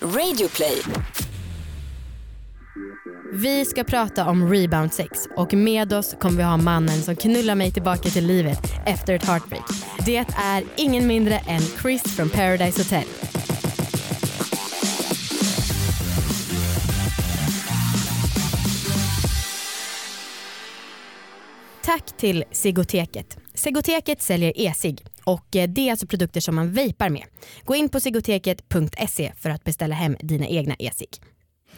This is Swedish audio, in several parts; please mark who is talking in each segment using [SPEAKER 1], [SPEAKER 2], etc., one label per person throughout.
[SPEAKER 1] Radioplay.
[SPEAKER 2] Vi ska prata om rebound sex och med oss kommer vi ha mannen som knullar mig tillbaka till livet efter ett heartbreak. Det är ingen mindre än Chris från Paradise Hotel. Tack till Sigoteket. Sigoteket säljer e-cigg och eh, det är alltså produkter som man vejpar med. Gå in på sigoteket.se för att beställa hem dina egna e-cigg.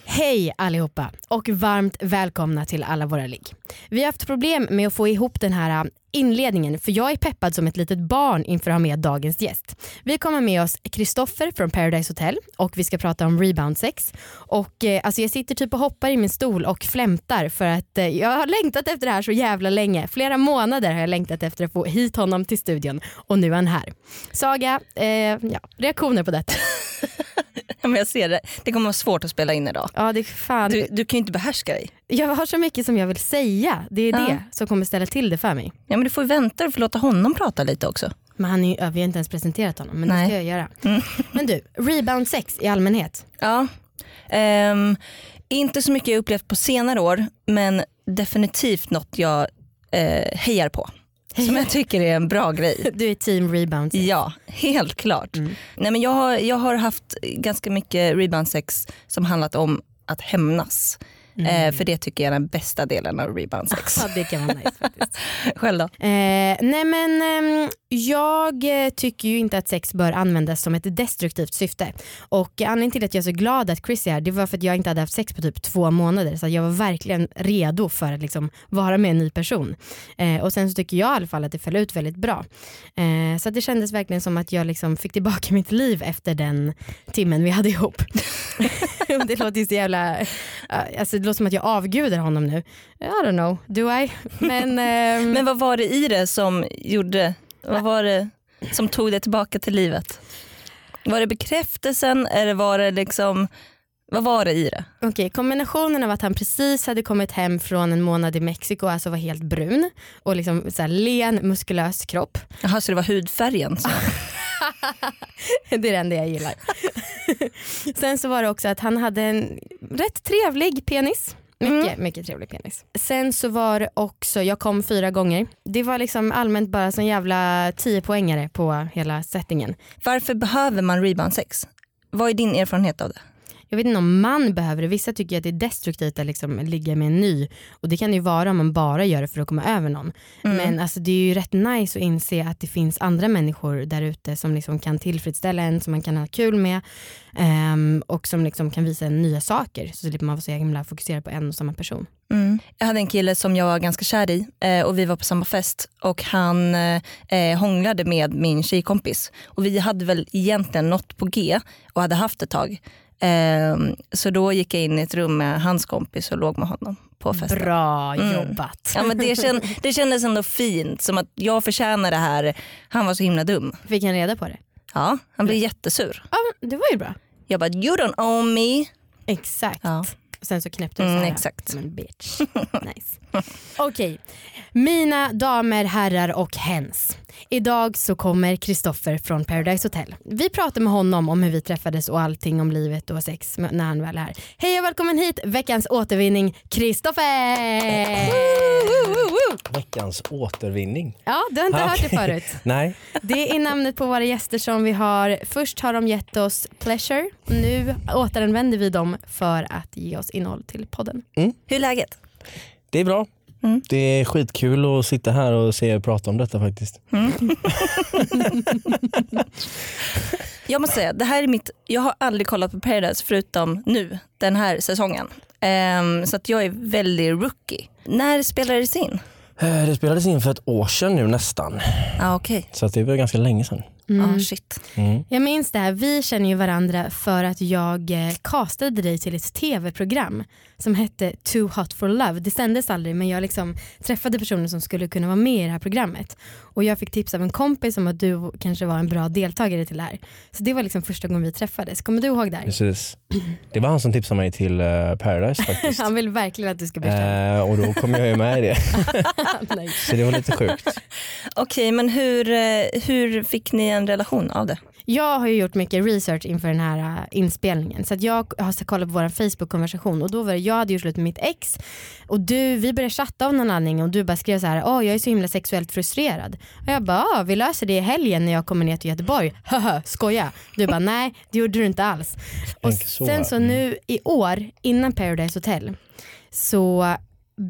[SPEAKER 2] Hej allihopa och varmt välkomna till alla våra ligg. Vi har haft problem med att få ihop den här eh, inledningen för jag är peppad som ett litet barn inför att ha med dagens gäst. Vi kommer med oss Kristoffer från Paradise Hotel och vi ska prata om rebound sex. Och, eh, alltså jag sitter typ och hoppar i min stol och flämtar för att eh, jag har längtat efter det här så jävla länge. Flera månader har jag längtat efter att få hit honom till studion och nu är han här. Saga, eh, ja, reaktioner på detta?
[SPEAKER 3] Ja, men jag ser det. Det kommer vara svårt att spela in idag.
[SPEAKER 2] Ja, det är fan.
[SPEAKER 3] Du, du kan ju inte behärska dig.
[SPEAKER 2] Jag har så mycket som jag vill säga. Det är
[SPEAKER 3] Ja.
[SPEAKER 2] det som kommer ställa till det för mig.
[SPEAKER 3] Ja, men du får ju vänta och få låta honom prata lite också.
[SPEAKER 2] Men han är, ju- ja, vi har inte ens presenterat honom, men det
[SPEAKER 3] Nej. Mm.
[SPEAKER 2] ska jag göra. Men du, rebound sex i allmänhet.
[SPEAKER 3] Ja. Ehm, inte så mycket jag upplevt på senare år, men definitivt något jag eh, hejar på. Som jag tycker är en bra grej.
[SPEAKER 2] Du är team rebound sex.
[SPEAKER 3] Ja, helt klart. Nej, men jag, har, jag har haft ganska mycket rebound sex som handlat om att hämnas. Eh, för det tycker jag är den bästa delen av rebound sex.
[SPEAKER 2] Ja, det kan vara nice faktiskt.
[SPEAKER 3] Själv då?
[SPEAKER 2] Eh, nej men ehm, jag eh, tycker ju inte att sex bör användas som ett destruktivt syfte. Och eh, anledningen till att jag är så glad att Chris är här det var för att jag inte hade haft sex på typ två månader så att jag var verkligen redo för att liksom vara med en ny person. Eh, och sen så tycker jag i alla fall att det föll ut väldigt bra. Eh, så att det kändes verkligen som att jag liksom fick tillbaka mitt liv efter den timmen vi hade ihop. det låter ju så jävla, eh, alltså det låter som att jag avgudar honom nu. I don't know, do I? Men, ehm,
[SPEAKER 3] Men vad var det i det som gjorde, vad var det som tog dig tillbaka till livet? Var det bekräftelsen eller var det liksom, vad var det i det?
[SPEAKER 2] Okej, kombinationen av att han precis hade kommit hem från en månad i Mexiko, alltså var helt brun och liksom så här len, muskulös kropp.
[SPEAKER 3] Jaha, så det var hudfärgen? Så.
[SPEAKER 2] Det är det enda jag gillar. Sen så var det också att han hade en rätt trevlig penis. Mycket, mycket trevlig penis. Sen så var det också, jag kom fyra gånger. Det var liksom allmänt bara som jävla 10 poängare på hela settingen.
[SPEAKER 3] Varför behöver man rebound sex? Vad är din erfarenhet av det?
[SPEAKER 2] Jag vet inte om man behöver det. Vissa tycker ju att det är destruktivt att liksom ligga med en ny. Och det kan det ju vara om man bara gör det för att komma över någon. Men alltså, det är ju rätt nice att inse att det finns andra människor där ute som liksom kan tillfredsställa en, som man kan ha kul med. ehm, och som liksom kan visa en nya saker. Så slipper man vara så himla fokuserad på en och samma person.
[SPEAKER 3] Jag hade en kille som jag var ganska kär i eh, och vi var på samma fest och han eh, hånglade med min tjejkompis och vi hade väl egentligen något på G och hade haft ett tag. Eh, så då gick jag in i ett rum med hans kompis och låg med honom på festen.
[SPEAKER 2] Bra jobbat.
[SPEAKER 3] Ja, men det, känd, det kändes ändå fint, som att jag förtjänar det här. Han var så himla dum.
[SPEAKER 2] Fick han reda på det?
[SPEAKER 3] Ja, han blev jättesur.
[SPEAKER 2] Ja, men det var ju bra.
[SPEAKER 3] Jag bara, you don't own me.
[SPEAKER 2] Exakt.
[SPEAKER 3] Ja.
[SPEAKER 2] Och sen så knäppte du
[SPEAKER 3] Mm,
[SPEAKER 2] Sara
[SPEAKER 3] exakt.
[SPEAKER 2] som en bitch. Nice. Okej, mina damer, herrar och hens. Idag så kommer Kristoffer från Paradise Hotel. Vi pratar med honom om hur vi träffades och allting om livet och sex när han väl är här. Hej och välkommen hit, veckans återvinning Kristoffer!
[SPEAKER 4] Veckans återvinning.
[SPEAKER 2] Ja, du har inte
[SPEAKER 4] Ah,
[SPEAKER 2] hört det
[SPEAKER 4] okej.
[SPEAKER 2] förut.
[SPEAKER 4] Nej,
[SPEAKER 2] Det är namnet på våra gäster som vi har. Först har de gett oss pleasure. Nu återanvänder vi dem för att ge oss innehåll till podden.
[SPEAKER 3] Hur är läget?
[SPEAKER 4] det är bra.
[SPEAKER 2] Mm.
[SPEAKER 4] Det är skitkul att sitta här och se er prata om detta faktiskt.
[SPEAKER 3] Jag måste säga, det här är mitt, jag har aldrig kollat på Paradise förutom nu, den här säsongen. Ehm, så att jag är väldigt rookie. När spelades det in?
[SPEAKER 4] Eh, Det spelades in för ett år sedan nu nästan,
[SPEAKER 3] Ah, Okej,
[SPEAKER 4] så att det var ganska länge sedan. Mm,
[SPEAKER 3] ah, shit.
[SPEAKER 2] Jag minns det här, vi känner ju varandra för att jag eh, castade dig till ett tv-program som hette Too Hot For Love. Det sändes aldrig men jag liksom träffade personer som skulle kunna vara med i det här programmet. Och jag fick tips av en kompis om att du kanske var en bra deltagare till det här. Så det var liksom första gången vi träffades. Kommer du ihåg det här?
[SPEAKER 4] Precis. Det var han som tipsade mig till eh, Paradise faktiskt.
[SPEAKER 2] Han vill verkligen att du ska bli känd.
[SPEAKER 4] Eh, och då kom jag ju med i det,
[SPEAKER 2] Nej.
[SPEAKER 4] så det var lite sjukt.
[SPEAKER 3] Okej, men hur, eh, hur fick ni en relation av det?
[SPEAKER 2] Jag har ju gjort mycket research inför den här äh, inspelningen så att jag har kollat på vår Facebook-konversation och då var det jag hade gjort slut med mitt ex och du, vi började chatta av någon anledning och du bara skrev så här, åh jag är så himla sexuellt frustrerad. Och jag bara, "Ah, vi löser det i helgen när jag kommer ner till Göteborg, haha skoja. Du bara, nej det gjorde du inte alls. Och
[SPEAKER 4] Tänker så. Mm.
[SPEAKER 2] sen så nu i år innan Paradise Hotel så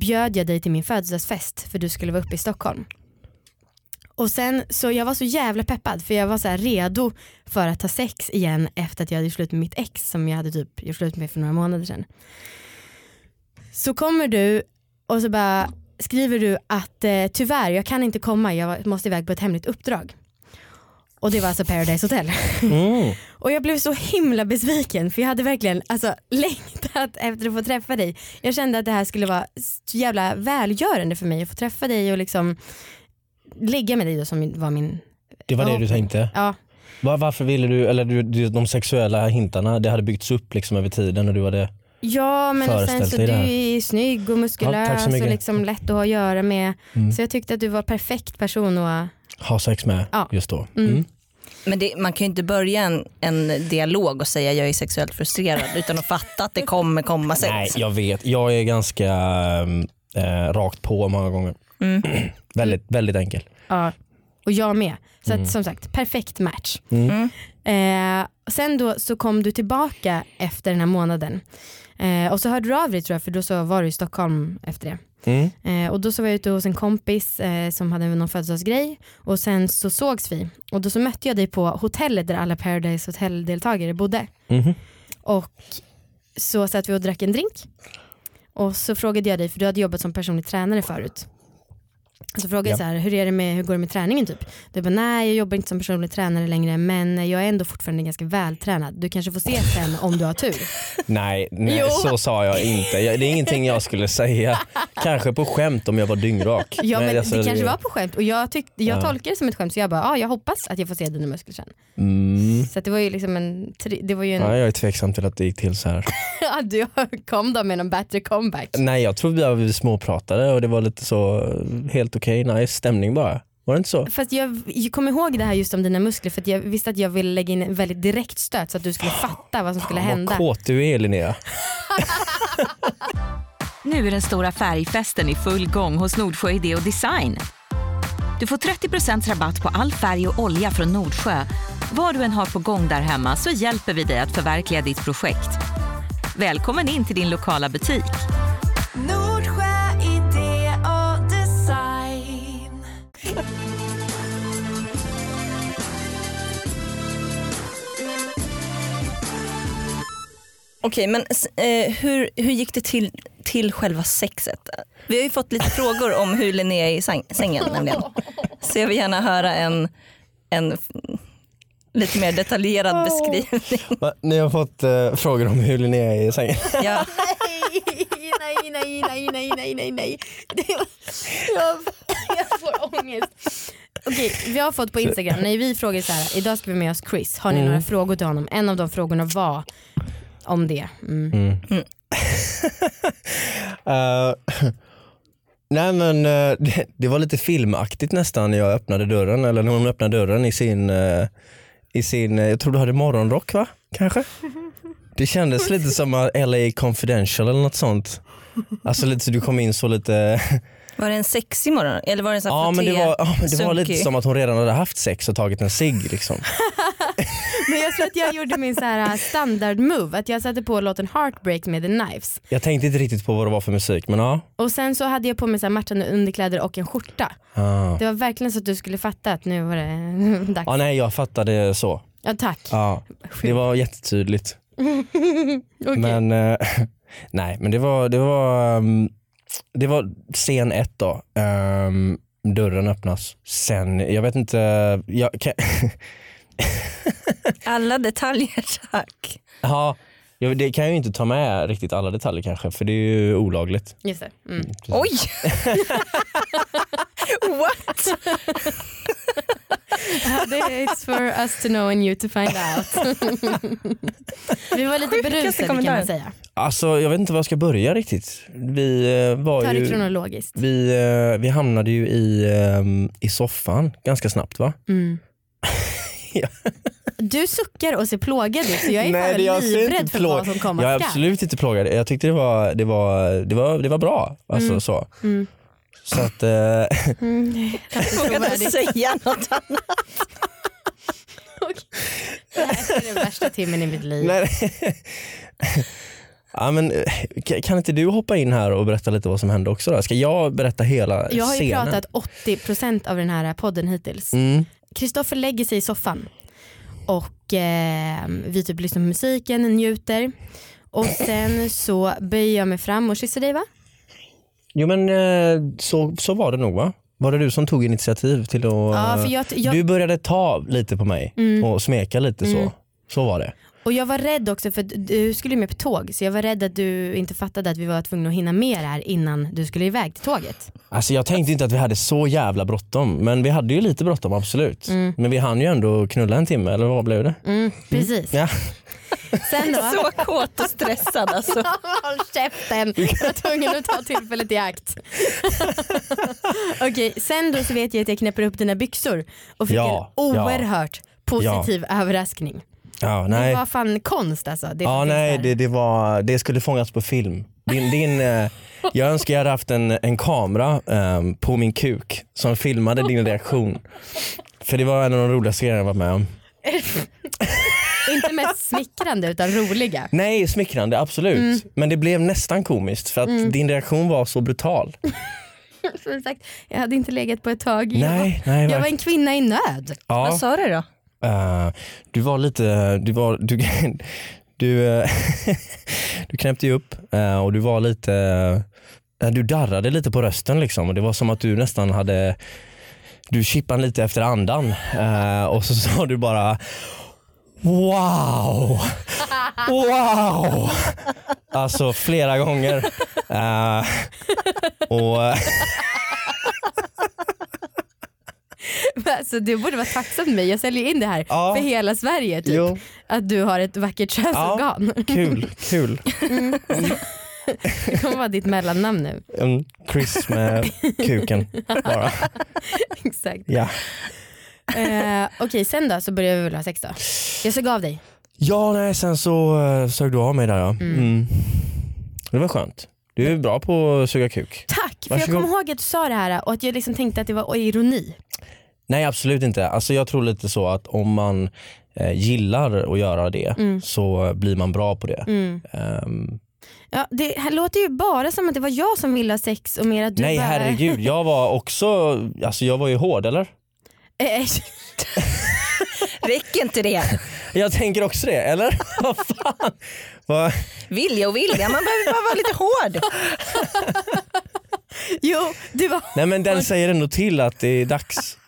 [SPEAKER 2] bjöd jag dig till min födelsedagsfest för du skulle vara uppe i Stockholm. Och sen så jag var så jävla peppad för jag var så här redo för att ha sex igen efter att jag hade gjort slut med mitt ex som jag hade typ gjort slut med för några månader sedan. Så kommer du och så bara skriver du att eh, tyvärr jag kan inte komma jag måste iväg på ett hemligt uppdrag. Och det var alltså Paradise Hotel.
[SPEAKER 4] Mm.
[SPEAKER 2] Och jag blev så himla besviken för jag hade verkligen alltså, längtat efter att få träffa dig. Jag kände att det här skulle vara så jävla välgörande för mig att få träffa dig och liksom ligga med dig då som var min,
[SPEAKER 4] Det var det du
[SPEAKER 2] Förhoppning.
[SPEAKER 4] tänkte?
[SPEAKER 2] ja
[SPEAKER 4] Va- Varför ville du, eller du, du, de sexuella hintarna, det hade byggts upp liksom över tiden och du hade...
[SPEAKER 2] Ja men och sen
[SPEAKER 4] Föreställt
[SPEAKER 2] så
[SPEAKER 4] dig
[SPEAKER 2] du
[SPEAKER 4] det här.
[SPEAKER 2] är snygg och
[SPEAKER 4] Ja, tack
[SPEAKER 2] muskulös
[SPEAKER 4] så mycket.
[SPEAKER 2] och liksom lätt att ha att göra med.
[SPEAKER 4] Mm.
[SPEAKER 2] Så jag tyckte att du var perfekt person att
[SPEAKER 4] ha sex med
[SPEAKER 2] Ja.
[SPEAKER 4] just då.
[SPEAKER 2] Mm.
[SPEAKER 4] Mm.
[SPEAKER 3] Men det, man kan ju inte börja en, en dialog och säga jag är sexuellt frustrerad utan att fatta att det kommer komma sex.
[SPEAKER 4] Nej, jag vet. Jag är ganska ehm, eh, rakt på många gånger.
[SPEAKER 3] Mm.
[SPEAKER 4] väldigt, väldigt enkel.
[SPEAKER 2] ja. och jag med. Så att, som sagt perfekt match.
[SPEAKER 4] Mm.
[SPEAKER 3] Mm.
[SPEAKER 2] Eh, och sen då så kom du tillbaka efter den här månaden. Eh, och så hörde du av dig tror jag för då så var du i Stockholm efter det.
[SPEAKER 4] Mm.
[SPEAKER 2] Eh, och då så var jag ute hos en kompis eh, som hade någon födelsedagsgrej och sen så sågs vi och då så mötte jag dig på hotellet där alla Paradise Hotel-deltagare bodde.
[SPEAKER 4] Mhm.
[SPEAKER 2] Och så satt vi och drack en drink. Och så frågade jag dig, för du hade jobbat som personlig tränare förut. Så frågade jag
[SPEAKER 4] Ja.
[SPEAKER 2] så här, hur, är det med, hur går det med träningen typ? Du bara, nej jag jobbar inte som personlig tränare längre men jag är ändå fortfarande ganska vältränad. Du kanske får se sen om du har tur.
[SPEAKER 4] Nej, nej
[SPEAKER 2] Jo.
[SPEAKER 4] så sa jag inte. Jag, det är ingenting jag skulle säga. Kanske på skämt om jag var dyngrak.
[SPEAKER 2] Ja men
[SPEAKER 4] alltså,
[SPEAKER 2] det kanske var på skämt och jag, tyckte, jag
[SPEAKER 4] Ja.
[SPEAKER 2] tolkade det som ett skämt så jag bara, ja jag hoppas att jag får se dina muskler sen.
[SPEAKER 4] Mm.
[SPEAKER 2] Så att det var ju liksom en, tri- det var ju en,
[SPEAKER 4] Ja, jag är tveksam till att det gick till så här.
[SPEAKER 2] ja du kom då med någon bättre comeback.
[SPEAKER 4] Nej, jag tror vi småpratade och det var lite så eh, helt okej, nice stämning bara. Var det inte så?
[SPEAKER 2] Fast jag, jag kommer ihåg det här just om dina muskler för att jag visste att jag ville lägga in en väldigt direkt stöt så att du skulle fatta vad som skulle
[SPEAKER 4] Vad
[SPEAKER 2] hända.
[SPEAKER 4] kåt du är Linnea.
[SPEAKER 1] Nu är den stora färgfesten i full gång hos Nordsjö Idé och Design. Du får 30 rabatt på all färg och olja från Nordsjö. Vad du än har på gång där hemma så hjälper vi dig att förverkliga ditt projekt. Välkommen in till din lokala butik.
[SPEAKER 5] Nordsjö idé och design.
[SPEAKER 3] Okej, men s- eh, hur, hur gick det till, till själva sexet? Vi har ju fått lite frågor om hur Linnea är i säng, sängen nämligen. Så jag vill gärna höra en, en f- lite mer detaljerad beskrivning.
[SPEAKER 4] Va? Ni har fått eh, frågor om hur Linnea är i sängen.
[SPEAKER 3] Ja.
[SPEAKER 2] Nej, nej, nej, nej, nej, nej, nej, nej. Det var- Jag, jag får ångest. Okej, vi har fått på Instagram, nej vi frågade så här, idag ska vi med oss Chris, har ni några frågor till honom? En av de frågorna var om det. Mm.
[SPEAKER 4] Eh, nej men eh, det, det var lite filmaktigt nästan när jag öppnade dörren, eller när hon öppnade dörren i sin, eh, i sin eh, jag tror du hade morgonrock va? Kanske? Det kändes lite som att LA Confidential eller något sånt. Alltså lite så du kom in så lite,
[SPEAKER 3] Var det en sexig morgon? Eller var det en sån här
[SPEAKER 4] ja men det
[SPEAKER 3] frotté-
[SPEAKER 4] var, ja, men det var lite
[SPEAKER 3] sunkig?
[SPEAKER 4] som att hon redan hade haft sex och tagit en cigg liksom.
[SPEAKER 2] Men jag tror att jag gjorde min så här äh, standard move, att jag satte på låten Heartbreak med The Knives.
[SPEAKER 4] Jag tänkte inte riktigt på vad det var för musik men ja.
[SPEAKER 2] Och sen så hade jag på mig så här matchande underkläder och en skjorta.
[SPEAKER 4] Ah.
[SPEAKER 2] Det var verkligen så att du skulle fatta att nu var det dags.
[SPEAKER 4] Ja, nej jag fattade så.
[SPEAKER 2] Ja tack.
[SPEAKER 4] Ja, det var jättetydligt.
[SPEAKER 2] Okej.
[SPEAKER 4] Men eh, nej, men det var, det var, ehm, det var scen ett då. Ehm, dörren öppnas. Sen, jag vet inte, jag, kan,
[SPEAKER 3] Alla detaljer tack.
[SPEAKER 4] ja, jag, det kan jag ju inte ta med riktigt alla detaljer kanske för det är ju olagligt.
[SPEAKER 2] Just det. Mm.
[SPEAKER 3] Oj! What?
[SPEAKER 2] Ja, det är- It's for us to know and you to find out. Vi var lite
[SPEAKER 3] Sjukaste
[SPEAKER 2] berusade kan man
[SPEAKER 3] kommentaren.
[SPEAKER 2] säga.
[SPEAKER 4] Alltså jag vet inte var jag ska börja riktigt. Vi eh,
[SPEAKER 2] Ta
[SPEAKER 4] var
[SPEAKER 2] det
[SPEAKER 4] ju,
[SPEAKER 2] kronologiskt.
[SPEAKER 4] vi, eh, vi hamnade ju i, ehm, i soffan ganska snabbt va?
[SPEAKER 2] Mm. Du suckar och ser plågad ut så jag är fan
[SPEAKER 4] jag ser
[SPEAKER 2] livrädd
[SPEAKER 4] inte
[SPEAKER 2] för
[SPEAKER 4] plå-
[SPEAKER 2] vad som komma
[SPEAKER 4] Jag är
[SPEAKER 2] ska.
[SPEAKER 4] absolut inte plågad. Jag tyckte det var, det var, det var, det var bra. Alltså, så.
[SPEAKER 2] Mm.
[SPEAKER 4] så att, eh,
[SPEAKER 3] Jag kan inte säga något annat.
[SPEAKER 2] Det här är den värsta timmen i mitt liv.
[SPEAKER 4] nej. ja, men, eh, ka- kan inte du hoppa in här och berätta lite vad som hände också? Då? Ska jag berätta hela
[SPEAKER 2] jag har ju
[SPEAKER 4] scenen?
[SPEAKER 2] pratat 80% av den här podden hittills.
[SPEAKER 4] Mm.
[SPEAKER 2] Kristoffer lägger sig i soffan och eh, vi typ lyssnar på musiken, njuter och sen så böjer jag mig fram och kysser dig va?
[SPEAKER 4] Jo men eh, så, så var det nog va? Var det du som tog initiativ till att...
[SPEAKER 2] Ja, för jag, jag, Mm.
[SPEAKER 4] Du började ta lite på mig och smeka lite så. Så var det.
[SPEAKER 2] och jag var rädd också för att du skulle ju med på tåg så jag var rädd att du inte fattade att vi var tvungna att hinna med det här innan du skulle iväg till tåget.
[SPEAKER 4] Alltså jag tänkte inte att vi hade så jävla bråttom men vi hade ju lite bråttom absolut. Men vi hann ju ändå knulla en timme eller vad blev det?
[SPEAKER 2] Mm, precis.
[SPEAKER 4] Ja.
[SPEAKER 2] Sen då.
[SPEAKER 3] Så Alltså, kåt och stressad alltså.
[SPEAKER 2] Håll käften, jag var tvungen att ta tillfället i akt. Okej, sen då så vet jag att jag knäpper upp dina byxor och fick
[SPEAKER 4] Ja,
[SPEAKER 2] en
[SPEAKER 4] ja.
[SPEAKER 2] oerhört positiv överraskning.
[SPEAKER 4] Ja, nej.
[SPEAKER 2] Det var fan konst alltså. Det
[SPEAKER 4] Ja,
[SPEAKER 2] som finns
[SPEAKER 4] nej
[SPEAKER 2] där.
[SPEAKER 4] det, det, var, det skulle fångats på film. Din, din, eh, jag önskar jag hade haft en, en kamera eh, på min kuk som filmade din reaktion. För det var en av de roligaste grejerna jag varit med om.
[SPEAKER 2] Inte mest smickrande utan roliga.
[SPEAKER 4] Nej, smickrande absolut.
[SPEAKER 2] Mm.
[SPEAKER 4] Men det blev nästan komiskt för att din reaktion var så brutal.
[SPEAKER 2] Som sagt, jag hade inte legat på ett tag.
[SPEAKER 4] Nej,
[SPEAKER 2] Jag, jag
[SPEAKER 4] nej.
[SPEAKER 2] var
[SPEAKER 4] verkligen.
[SPEAKER 2] en kvinna i nöd.
[SPEAKER 4] ja.
[SPEAKER 3] Vad sa du då?
[SPEAKER 4] Eh, du var lite, du var, du, du, eh, du knäppte ju upp eh, och du var lite, eh, du darrade lite på rösten liksom och det var som att du nästan hade, du kippade lite efter andan eh, och så sa du bara Wow! Wow! Alltså flera gånger. Eh, och eh,
[SPEAKER 2] Alltså, du borde vara tacksam för mig. Jag säljer in det här
[SPEAKER 4] Ja.
[SPEAKER 2] för hela Sverige. Typ.
[SPEAKER 4] Jo.
[SPEAKER 2] Att du har ett vackert könsorgan.
[SPEAKER 4] Kul, kul.
[SPEAKER 2] Det kommer vara ditt mellannamn nu.
[SPEAKER 4] Mm, Chris med kuken bara.
[SPEAKER 2] Exakt.
[SPEAKER 4] Ja.
[SPEAKER 2] Eh, Okej, sen då så börjar vi väl ha sex då. Jag såg av dig.
[SPEAKER 4] Ja, nej, sen så uh, sög du av mig där ja. Mm. Det var skönt. Du är bra på att suga kuk.
[SPEAKER 2] Tack, för
[SPEAKER 4] Varsågod.
[SPEAKER 2] jag kommer ihåg att du sa det här och att jag liksom tänkte att det var ironi.
[SPEAKER 4] Nej absolut inte. Alltså, jag tror lite så att om man eh, gillar att göra det
[SPEAKER 2] Mm.
[SPEAKER 4] så blir man bra på det. Ehm,
[SPEAKER 2] Ja, det här låter ju bara som att det var jag som ville ha sex och mer att du
[SPEAKER 4] nej
[SPEAKER 2] bara...
[SPEAKER 4] herregud, jag var också, alltså jag var ju hård eller?
[SPEAKER 2] Eh,
[SPEAKER 3] Räcker inte det?
[SPEAKER 4] Jag tänker också det, eller? Vad fan? Vad-
[SPEAKER 3] Vilja och vilja, man behöver bara vara lite hård.
[SPEAKER 2] jo, det var...
[SPEAKER 4] Nej men den säger ändå till att det är dags.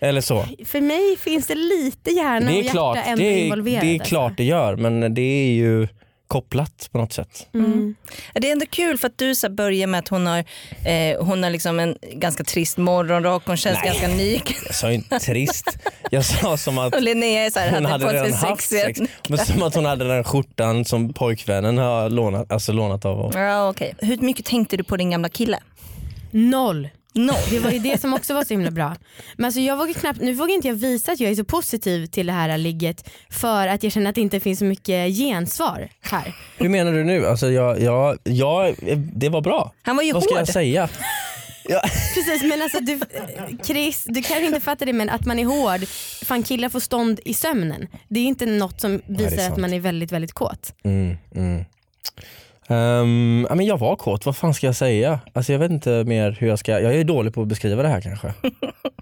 [SPEAKER 4] Eller så.
[SPEAKER 2] För mig finns det lite hjärna
[SPEAKER 4] Det
[SPEAKER 2] och
[SPEAKER 4] är,
[SPEAKER 2] hjärta
[SPEAKER 4] klart,
[SPEAKER 2] ändå
[SPEAKER 4] det, är,
[SPEAKER 2] involverat.
[SPEAKER 4] det är
[SPEAKER 2] alltså.
[SPEAKER 4] klart det gör men det är ju kopplat på något sätt.
[SPEAKER 2] Mm.
[SPEAKER 3] Det är ändå kul för att du så här börjar med att hon har, eh, hon har liksom en ganska trist morgonrock, hon känns
[SPEAKER 4] Nej.
[SPEAKER 3] ganska ny.
[SPEAKER 4] Jag sa ju inte trist. Jag sa som att
[SPEAKER 3] Och Linnea är så här,
[SPEAKER 4] hon
[SPEAKER 3] hade,
[SPEAKER 4] hade
[SPEAKER 3] på sig
[SPEAKER 4] redan haft
[SPEAKER 3] sexiga-
[SPEAKER 4] sex. Men som att hon hade den skjortan som pojkvännen har lånat, alltså lånat av och,
[SPEAKER 3] Ja, okej. Hur mycket tänkte du på din gamla kille?
[SPEAKER 2] Noll.
[SPEAKER 3] No.
[SPEAKER 2] Det var ju det som också var så himla bra. Men alltså jag vågar knappt, nu vågar inte jag visa att jag är så positiv till det här ligget för att jag känner att det inte finns så mycket gensvar här.
[SPEAKER 4] Hur menar du nu? Alltså jag, jag, jag, det var bra.
[SPEAKER 3] Han var ju
[SPEAKER 4] Vad ska
[SPEAKER 3] hård.
[SPEAKER 4] jag säga? Ja,
[SPEAKER 2] Precis men alltså du, Chris, du kanske inte fattar det men att man är hård, fan killar får stånd i sömnen. Det är inte något som visar att
[SPEAKER 4] sant.
[SPEAKER 2] man är väldigt väldigt kåt.
[SPEAKER 4] mm, mm. Ehm, ja, men jag var kåt, vad fan ska jag säga? Alltså jag vet inte mer hur jag ska, jag är dålig på att beskriva det här kanske.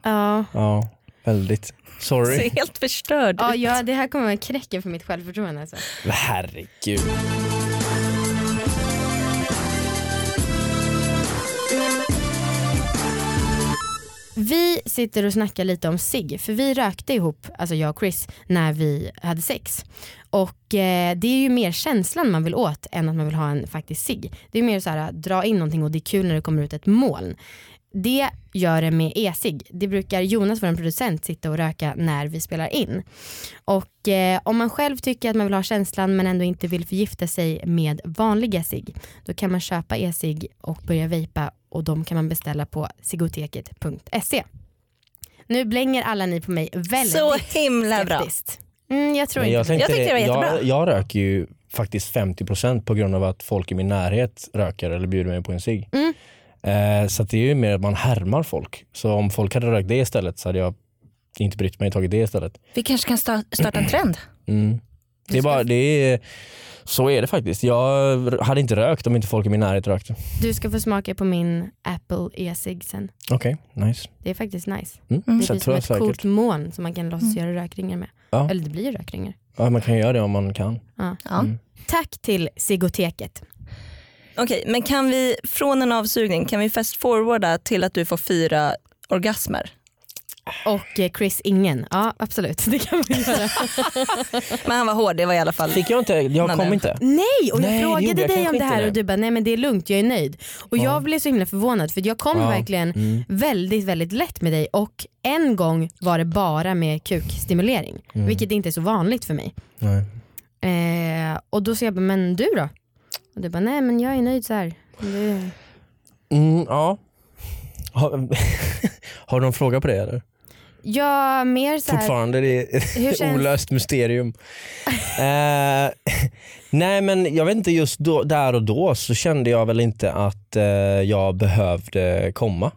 [SPEAKER 2] Ja,
[SPEAKER 4] Ja, väldigt. Sorry.
[SPEAKER 3] Ser helt förstörd
[SPEAKER 2] ja,
[SPEAKER 3] ut.
[SPEAKER 2] ja det här kommer vara knäcken för mitt självförtroende alltså.
[SPEAKER 4] Herregud.
[SPEAKER 2] Vi sitter och snackar lite om sig för vi rökte ihop, alltså jag och Chris, när vi hade sex. Och eh, det är ju mer känslan man vill åt än att man vill ha en faktisk sig. Det är mer så här dra in någonting och det är kul när det kommer ut ett moln. Det gör det med e-cigg. Det brukar Jonas, vår producent, sitta och röka när vi spelar in. Och eh, om man själv tycker att man vill ha känslan men ändå inte vill förgifta sig med vanliga cigg, då kan man köpa e-cigg och börja vejpa och de kan man beställa på sigoteket.se. Nu E. blänger alla ni på mig väldigt
[SPEAKER 3] Så himla bra.
[SPEAKER 2] skeptiskt. Mm, jag tror
[SPEAKER 4] Men jag,
[SPEAKER 2] inte det.
[SPEAKER 4] tänkte
[SPEAKER 3] Jag tyckte det var
[SPEAKER 4] jag,
[SPEAKER 3] jättebra.
[SPEAKER 4] jag röker ju faktiskt 50% på grund av att folk i min närhet röker eller bjuder mig på en cigg.
[SPEAKER 2] Mm.
[SPEAKER 4] Eh, så att det är ju mer att man härmar folk. Så om folk hade rökt det istället så hade jag inte brytt mig och tagit det istället.
[SPEAKER 3] Vi kanske kan sta- starta en trend.
[SPEAKER 4] Mm. Det är bara, det är, så är det faktiskt. Jag hade inte rökt om inte folk i min närhet rökte.
[SPEAKER 2] Du ska få smaka på min Apple e-cigg sen.
[SPEAKER 4] Okej, nice.
[SPEAKER 2] Det är faktiskt nice.
[SPEAKER 4] Mm.
[SPEAKER 3] Mm.
[SPEAKER 2] Det
[SPEAKER 4] Så
[SPEAKER 2] blir som
[SPEAKER 4] jag tror jag
[SPEAKER 2] ett
[SPEAKER 4] säkert.
[SPEAKER 2] coolt moln som man kan låtsas göra rökringar med.
[SPEAKER 4] Ja.
[SPEAKER 2] Eller det blir ju rökringar.
[SPEAKER 4] Ja, man kan göra det om man kan.
[SPEAKER 3] Ja.
[SPEAKER 4] Mm.
[SPEAKER 2] Tack till Sigoteket.
[SPEAKER 3] Okej, men kan vi från en avsugning, kan vi fast forwarda till att du får fyra orgasmer?
[SPEAKER 2] Och eh, Chris Ingen. Ja absolut, det kan vi göra.
[SPEAKER 3] Men han var hård, det var i alla fall.
[SPEAKER 4] Fick jag inte? Jag
[SPEAKER 3] Nej,
[SPEAKER 4] kom
[SPEAKER 3] nej.
[SPEAKER 4] inte.
[SPEAKER 2] nej, och jag
[SPEAKER 4] Nej, det
[SPEAKER 2] frågade
[SPEAKER 4] gjorde jag
[SPEAKER 2] dig
[SPEAKER 4] kanske
[SPEAKER 2] om det
[SPEAKER 4] inte
[SPEAKER 2] här
[SPEAKER 4] det.
[SPEAKER 2] och du bara nej men det är lugnt, jag är nöjd. Och jag blev så himla förvånad för jag kom
[SPEAKER 4] Ja.
[SPEAKER 2] verkligen
[SPEAKER 4] Mm.
[SPEAKER 2] väldigt väldigt lätt med dig och en gång var det bara med kukstimulering
[SPEAKER 4] Mm.
[SPEAKER 2] vilket inte är så vanligt för mig.
[SPEAKER 4] Nej.
[SPEAKER 2] Eh, och då sa jag bara, men du då? Och du bara nej men jag är nöjd så här. Det...
[SPEAKER 4] Mm, ja. Har, har de fråga på det eller?
[SPEAKER 2] Ja mer så här,
[SPEAKER 4] Fortfarande det
[SPEAKER 2] Hur
[SPEAKER 4] är ett
[SPEAKER 2] känns-
[SPEAKER 4] olöst mysterium. eh, nej men jag vet inte, just då, där och då så kände jag väl inte att eh, jag behövde komma.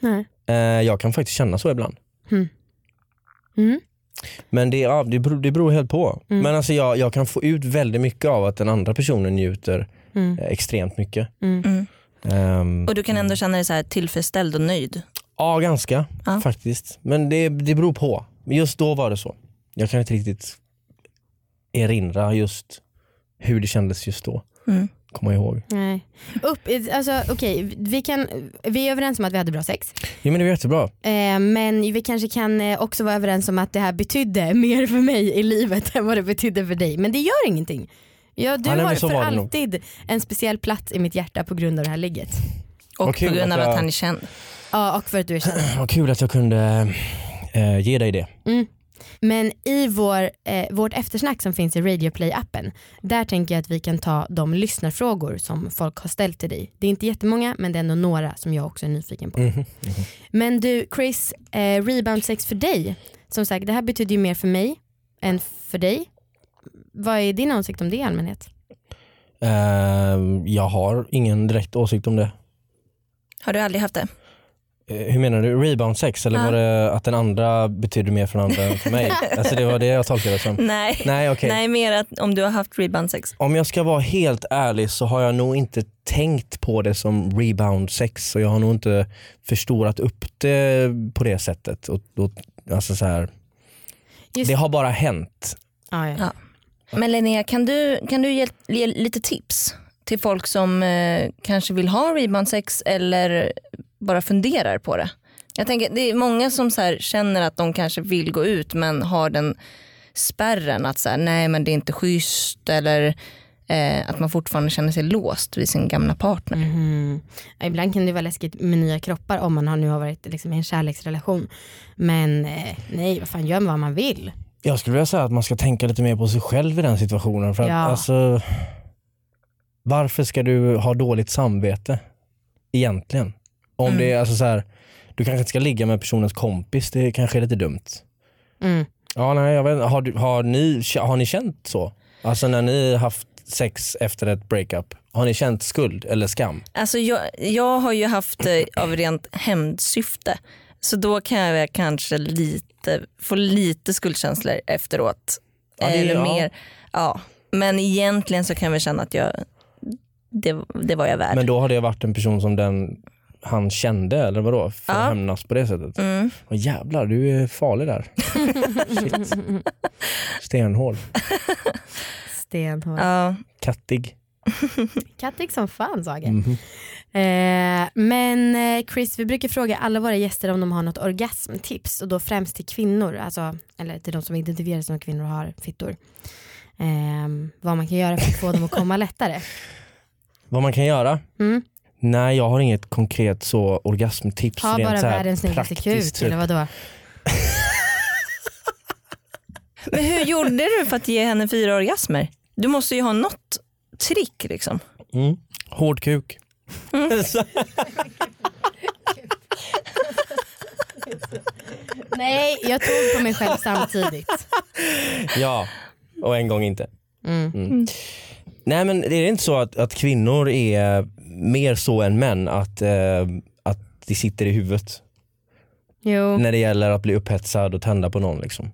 [SPEAKER 2] nej.
[SPEAKER 4] Eh, jag kan faktiskt känna så ibland.
[SPEAKER 2] Mm.
[SPEAKER 4] Men det, ja, det, beror, det beror helt på.
[SPEAKER 2] Mm.
[SPEAKER 4] Men alltså jag, jag kan få ut väldigt mycket av att den andra personen njuter
[SPEAKER 2] Mm.
[SPEAKER 4] eh, extremt mycket.
[SPEAKER 2] Mm.
[SPEAKER 3] Mm.
[SPEAKER 4] Ehm,
[SPEAKER 3] Och du kan ändå känna dig så här tillfredsställd och nöjd.
[SPEAKER 4] Ja, ganska
[SPEAKER 3] Ja.
[SPEAKER 4] faktiskt. Men det, det beror på. Men Just då var det så. Jag kan inte riktigt erinra just hur det kändes just då.
[SPEAKER 3] Mm.
[SPEAKER 4] Komma ihåg.
[SPEAKER 2] Nej. Upp, alltså, okej, vi, kan, vi är överens om att vi hade bra sex.
[SPEAKER 4] Jo men det var jättebra.
[SPEAKER 2] Eh, men vi kanske kan eh, också vara överens om att det här betydde mer för mig i livet än vad det betydde för dig. Men det gör ingenting. Ja, du
[SPEAKER 4] Ja, nej, men
[SPEAKER 2] har
[SPEAKER 4] så
[SPEAKER 2] för
[SPEAKER 4] var det nog.
[SPEAKER 2] alltid en speciell plats i mitt hjärta på grund av det här ligget.
[SPEAKER 3] Och
[SPEAKER 4] Vad kul
[SPEAKER 3] på grund
[SPEAKER 4] att
[SPEAKER 3] av att
[SPEAKER 4] jag-
[SPEAKER 3] han är känd.
[SPEAKER 2] Ja, och för att du är känd.
[SPEAKER 4] Vad kul att jag kunde eh, ge dig det.
[SPEAKER 2] Men i vår, eh, vårt eftersnack som finns i Radioplay-appen, där tänker jag att vi kan ta de lyssnarfrågor som folk har ställt till dig. Det är inte jättemånga, men det är ändå några som jag också är nyfiken på. Men du, Chris, eh, rebound sex för dig, som sagt, det här betyder ju mer för mig än för dig. Vad är din åsikt om det i allmänhet?
[SPEAKER 4] Ehm, jag har ingen direkt åsikt om det.
[SPEAKER 3] Har du aldrig haft det?
[SPEAKER 4] Eh, Hur menar du? Rebound sex eller
[SPEAKER 3] Ja.
[SPEAKER 4] var det att den andra betyder mer för den andra än för mig? Alltså det var det jag tolkade det som.
[SPEAKER 3] Nej.
[SPEAKER 4] Nej okej.
[SPEAKER 3] Nej, mer att om du har haft rebound sex.
[SPEAKER 4] Om jag ska vara helt ärlig så har jag nog inte tänkt på det som rebound sex och jag har nog inte förstorat upp det på det sättet. Och, och, alltså så här,
[SPEAKER 2] Just-
[SPEAKER 4] det har bara hänt.
[SPEAKER 2] Ah, ja.
[SPEAKER 3] Ja. Men Linnea, kan du, kan du ge, ge lite tips till folk som eh, kanske vill ha rebound sex eller bara funderar på det? Jag tänker, det är många som så här, känner att de kanske vill gå ut men har den spärren att så här, nej men det är inte schysst eller eh, att man fortfarande känner sig låst vid sin gamla partner.
[SPEAKER 2] Mhm. Ja, Ibland kan det vara läskigt med nya kroppar om man har, nu har varit liksom, i en kärleksrelation. Men eh, nej, vad fan, gör vad man vill.
[SPEAKER 4] Jag skulle vilja säga att man ska tänka lite mer på sig själv i den situationen. För att,
[SPEAKER 2] Ja.
[SPEAKER 4] alltså, varför ska du ha dåligt samvete egentligen? Om
[SPEAKER 2] Mm.
[SPEAKER 4] det är alltså så här, du kanske inte ska ligga med personens kompis, det kanske är lite dumt.
[SPEAKER 2] Mm.
[SPEAKER 4] Ja, nej, jag vet, inte. har, du, har, ni, har ni känt så? Alltså när ni haft sex efter ett breakup, har ni känt skuld eller skam?
[SPEAKER 3] Alltså jag, jag har ju haft det av rent hämndsyfte. Så då kan jag väl kanske lite, få lite skuldkänslor efteråt.
[SPEAKER 4] Ja, det-
[SPEAKER 3] Eller
[SPEAKER 4] ja.
[SPEAKER 3] mer. Ja. Men egentligen så kan jag väl känna att jag, det, det var jag värd.
[SPEAKER 4] Men då har det varit en person som den han kände eller vadå? För att
[SPEAKER 3] Ja.
[SPEAKER 4] hämnas på det sättet?
[SPEAKER 3] Mm.
[SPEAKER 4] Åh, jävlar, du är farlig där. Shit. Stenhård.
[SPEAKER 2] Stenhård.
[SPEAKER 3] Ja.
[SPEAKER 4] Kattig.
[SPEAKER 2] Kattig som fan Saga.
[SPEAKER 4] Mhm.
[SPEAKER 2] Eh, men eh, Chris, vi brukar fråga alla våra gäster om de har något orgasmtips och då främst till kvinnor, alltså, eller till de som identifierar sig som kvinnor och har fittor. Eh, vad man kan göra för att få dem att komma lättare.
[SPEAKER 4] Vad man kan göra?
[SPEAKER 2] Mm.
[SPEAKER 4] Nej, jag har inget konkret så orgasmtips.
[SPEAKER 2] Ta
[SPEAKER 4] rent
[SPEAKER 2] bara
[SPEAKER 4] så här
[SPEAKER 2] världens snyggaste kuk
[SPEAKER 4] praktiskt, typ.
[SPEAKER 2] eller vadå?
[SPEAKER 3] Men hur gjorde du för att ge henne fyra orgasmer? Du måste ju ha något trick liksom.
[SPEAKER 4] Mm. Hård kuk.
[SPEAKER 2] Nej, jag tog på mig själv samtidigt.
[SPEAKER 4] Ja, och en gång inte.
[SPEAKER 2] Mm.
[SPEAKER 4] Nej men är det inte så att, att kvinnor är mer så än män? Att, eh, att det sitter i huvudet
[SPEAKER 2] Jo.
[SPEAKER 4] när det gäller att bli upphetsad och tända på någon liksom?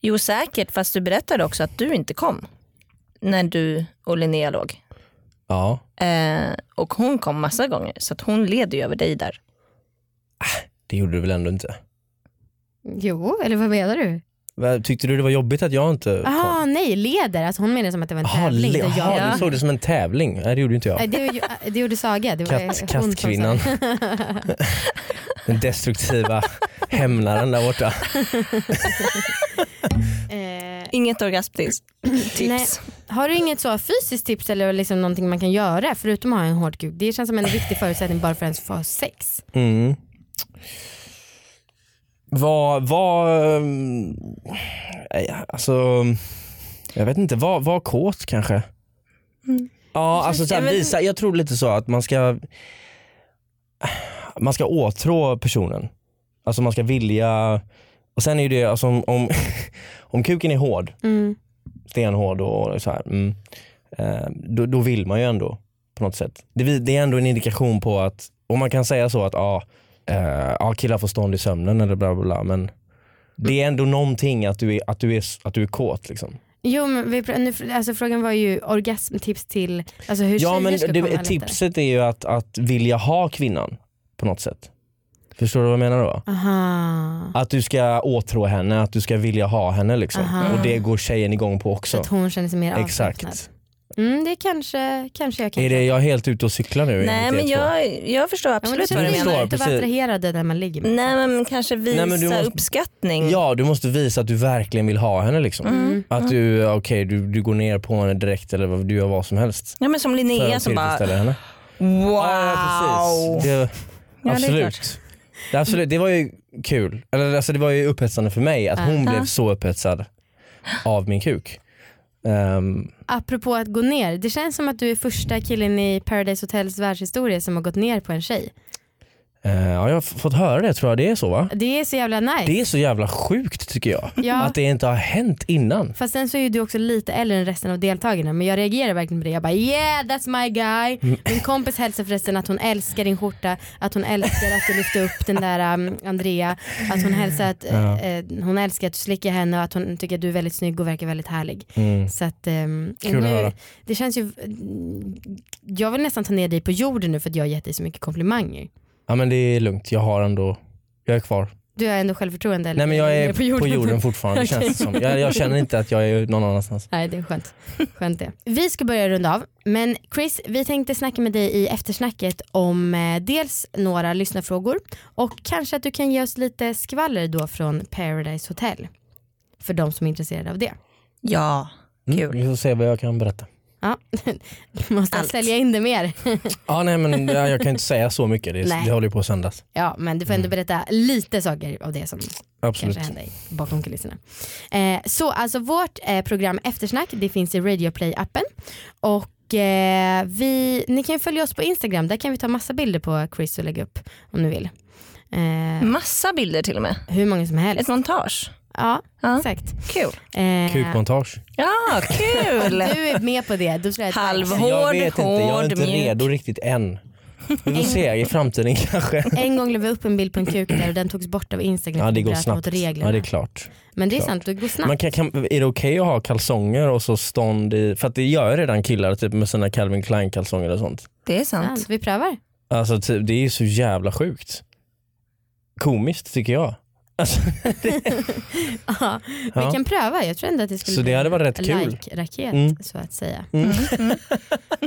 [SPEAKER 3] Jo säkert, fast du berättade också att du inte kom när du och Linnea låg.
[SPEAKER 4] Ja.
[SPEAKER 3] Eh, och hon kom massa gånger, så att hon leder ju över dig där.
[SPEAKER 4] Det gjorde du väl ändå inte?
[SPEAKER 2] jo, eller vad menar du?
[SPEAKER 4] Va, Tyckte du det var jobbigt att jag inte kom?
[SPEAKER 2] Jaha, nej, leder. Alltså hon menar som att Ah, det var en
[SPEAKER 4] Aha,
[SPEAKER 2] tävling.
[SPEAKER 4] le-
[SPEAKER 2] där jag-
[SPEAKER 4] aha, du såg det som en tävling. Nej det gjorde inte
[SPEAKER 2] Nej,
[SPEAKER 4] jag.
[SPEAKER 2] det, var ju- det gjorde Saga. Det var
[SPEAKER 4] Katt-
[SPEAKER 2] hon som sa-
[SPEAKER 4] kastkvinnan. Den destruktiva hämnaren där borta.
[SPEAKER 2] Eh,
[SPEAKER 3] Inget orgasmtips.
[SPEAKER 2] Nej.
[SPEAKER 3] Tips.
[SPEAKER 2] har du inget så fysiskt tips eller liksom någonting man kan göra förutom att ha en hård kuk? Det känns som en viktig förutsättning bara för att ens få ha sex.
[SPEAKER 4] Mm. Vad, vad, ehm, nej, alltså, jag vet inte, vad, vad kåt kanske? Ja, alltså så här,
[SPEAKER 3] Ja, men-
[SPEAKER 4] visa, jag tror lite så att man ska, man ska åtrå personen. Alltså man ska vilja, och sen är ju det, alltså om, om, om kuken är hård,
[SPEAKER 2] Mm.
[SPEAKER 4] stenhård och så här, mm, eh, då, då vill man ju ändå på något sätt. Det, vi- det är ändå en indikation på att, och man kan säga så att ja, eh, ja, killar får stånd i sömnen eller bla bla bla men det är ändå någonting att du är, att du är, att du är kåt. Liksom.
[SPEAKER 2] Jo men vi, pr- nu, alltså, frågan var ju orgasmtips till alltså, hur
[SPEAKER 4] Ja
[SPEAKER 2] tjejer
[SPEAKER 4] men
[SPEAKER 2] ska komma
[SPEAKER 4] det,
[SPEAKER 2] lättare.
[SPEAKER 4] tipset är ju att, att vilja ha kvinnan på något sätt. Förstår du vad jag menar då?
[SPEAKER 2] Aha.
[SPEAKER 4] Att du ska åtrå henne, att du ska vilja ha henne liksom.
[SPEAKER 2] Aha.
[SPEAKER 4] Och det går tjejen igång på också.
[SPEAKER 2] Så att hon känner sig mer avslappnad.
[SPEAKER 4] Exakt.
[SPEAKER 2] Mm, det kanske, kanske jag kan.
[SPEAKER 4] Är det jag helt ute och cyklar nu?
[SPEAKER 3] Nej men
[SPEAKER 4] enligt er två?
[SPEAKER 3] jag, jag förstår
[SPEAKER 2] ja, men då
[SPEAKER 3] absolut vad
[SPEAKER 2] känner
[SPEAKER 3] du
[SPEAKER 2] man sig
[SPEAKER 4] jag förstår,
[SPEAKER 3] menar.
[SPEAKER 2] inte vara
[SPEAKER 4] precis.
[SPEAKER 2] attraherad när man ligger med
[SPEAKER 3] Nej men kanske visa
[SPEAKER 4] men du måste-
[SPEAKER 3] uppskattning.
[SPEAKER 4] Ja, du måste visa att du verkligen vill ha henne. Liksom.
[SPEAKER 2] Mm.
[SPEAKER 4] Att du, okej du, du går ner på henne direkt eller vad- du gör vad som helst.
[SPEAKER 3] Ja men som
[SPEAKER 4] för
[SPEAKER 3] Linnea
[SPEAKER 4] att
[SPEAKER 3] som bara
[SPEAKER 4] tillfredsställa henne.
[SPEAKER 3] wow.
[SPEAKER 4] Ja, precis. Det,
[SPEAKER 3] det är
[SPEAKER 4] absolut.
[SPEAKER 3] klart.
[SPEAKER 4] Det, absolut. Det var ju kul. Eller, alltså, det var ju upphetsande för mig att hon blev så upphetsad av min kuk. Ehm,
[SPEAKER 2] Apropå att gå ner, det känns som att du är första killen i Paradise Hotels världshistoria som har gått ner på en tjej.
[SPEAKER 4] eh, ja, jag har f- fått höra det tror jag. Det är så va?
[SPEAKER 2] Det är så jävla nice.
[SPEAKER 4] Det är så jävla sjukt tycker jag.
[SPEAKER 2] Ja.
[SPEAKER 4] Att det inte har hänt innan.
[SPEAKER 2] Fast sen så är ju du också lite äldre än resten av deltagarna men jag reagerar verkligen på det. Jag bara yeah that's my guy.
[SPEAKER 4] Mm.
[SPEAKER 2] Min kompis hälsar förresten att hon älskar din skjorta, att hon älskar att du lyfte upp den där um, Andrea, att hon hälsar att
[SPEAKER 4] Ja.
[SPEAKER 2] eh, eh, hon älskar att du slickar henne och att hon tycker att du är väldigt snygg och verkar väldigt härlig.
[SPEAKER 4] Mm.
[SPEAKER 2] Så att ehm,
[SPEAKER 4] Kul att höra.
[SPEAKER 2] det känns ju, mm, jag vill nästan ta ner dig på jorden nu för att jag har gett dig så mycket komplimanger.
[SPEAKER 4] Ja men det är lugnt. Jag har ändå, jag är kvar.
[SPEAKER 2] Du har ändå självförtroende eller?
[SPEAKER 4] Nej men jag är
[SPEAKER 2] nere
[SPEAKER 4] på jorden, fortfarande
[SPEAKER 2] Okej.
[SPEAKER 4] känns det som. Jag, jag känner inte att jag är någon annanstans.
[SPEAKER 2] Nej det är skönt. skönt det. Vi ska börja runda av men Chris vi tänkte snacka med dig i eftersnacket om eh, dels några lyssnarfrågor och kanske att du kan ge oss lite skvaller då från Paradise Hotel för de som är intresserade av det.
[SPEAKER 3] Ja,
[SPEAKER 4] Mm,
[SPEAKER 3] kul.
[SPEAKER 4] vi får se vad jag kan berätta.
[SPEAKER 2] Ja. Måste
[SPEAKER 3] Allt.
[SPEAKER 2] sälja in det mer.
[SPEAKER 4] Ja, nej, men jag jag kan inte säga så mycket, det,
[SPEAKER 2] Nej.
[SPEAKER 4] det håller ju på att sändas.
[SPEAKER 2] Ja men du får ändå berätta lite saker av det som
[SPEAKER 4] Absolut.
[SPEAKER 2] kanske hände i- bakom kulisserna. Eh, så alltså vårt eh, program Eftersnack det finns i Radio Play appen och eh, vi, ni kan ju följa oss på Instagram där kan vi ta massa bilder på Chris och lägga upp om ni vill.
[SPEAKER 4] Mm.
[SPEAKER 2] Eh,
[SPEAKER 3] Massa bilder till och med.
[SPEAKER 2] hur många som
[SPEAKER 3] Ett
[SPEAKER 2] helst.
[SPEAKER 3] montage.
[SPEAKER 2] Ja,
[SPEAKER 3] Ja.
[SPEAKER 2] exakt.
[SPEAKER 3] Kul.
[SPEAKER 2] Eh,
[SPEAKER 4] Kukmontage.
[SPEAKER 3] Ja, kul.
[SPEAKER 2] du är med på det. Du skulle jag-
[SPEAKER 3] Halv- Hård,
[SPEAKER 4] jag vet inte, jag är
[SPEAKER 3] hård,
[SPEAKER 4] inte
[SPEAKER 3] mjuk.
[SPEAKER 4] redo riktigt än. Vi får se i framtiden kanske.
[SPEAKER 2] En gång la vi upp en bild på en kuk där och den togs bort av Instagram.
[SPEAKER 4] Ja det
[SPEAKER 2] för
[SPEAKER 4] går
[SPEAKER 2] bröt Mot
[SPEAKER 4] snabbt.
[SPEAKER 2] reglerna.
[SPEAKER 4] Ja det är klart.
[SPEAKER 2] Men det är
[SPEAKER 4] klart.
[SPEAKER 2] sant, det går snabbt.
[SPEAKER 4] Man kan, kan, är det okej att ha kalsonger och så stånd i, för att det gör ju redan killar typ med sina Calvin Klein kalsonger och sånt.
[SPEAKER 3] Det är
[SPEAKER 2] Sant.
[SPEAKER 3] sant.
[SPEAKER 2] Vi prövar.
[SPEAKER 4] Alltså typ, det är ju så jävla sjukt. Komiskt tycker jag. Alltså,
[SPEAKER 2] Ja,
[SPEAKER 4] Ja.
[SPEAKER 2] Vi kan pröva, jag tror ändå att det skulle
[SPEAKER 4] Så det
[SPEAKER 2] bli
[SPEAKER 4] hade varit rätt
[SPEAKER 2] en
[SPEAKER 4] kul.
[SPEAKER 2] like-raket
[SPEAKER 4] Mm.
[SPEAKER 2] så att säga.
[SPEAKER 4] Mm.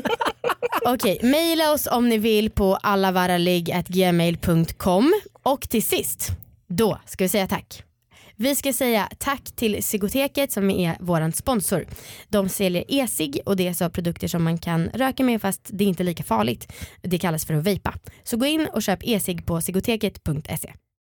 [SPEAKER 2] Okej, mejla oss om ni vill på allavaraligg.gmail.com och till sist, då ska vi säga tack. Vi ska säga tack till Sigoteket som är vår sponsor. De säljer e-cigg och det är så produkter som man kan röka med fast det är inte lika farligt. Det kallas för att vejpa. Så gå in och köp e-cigg på sigoteket.se.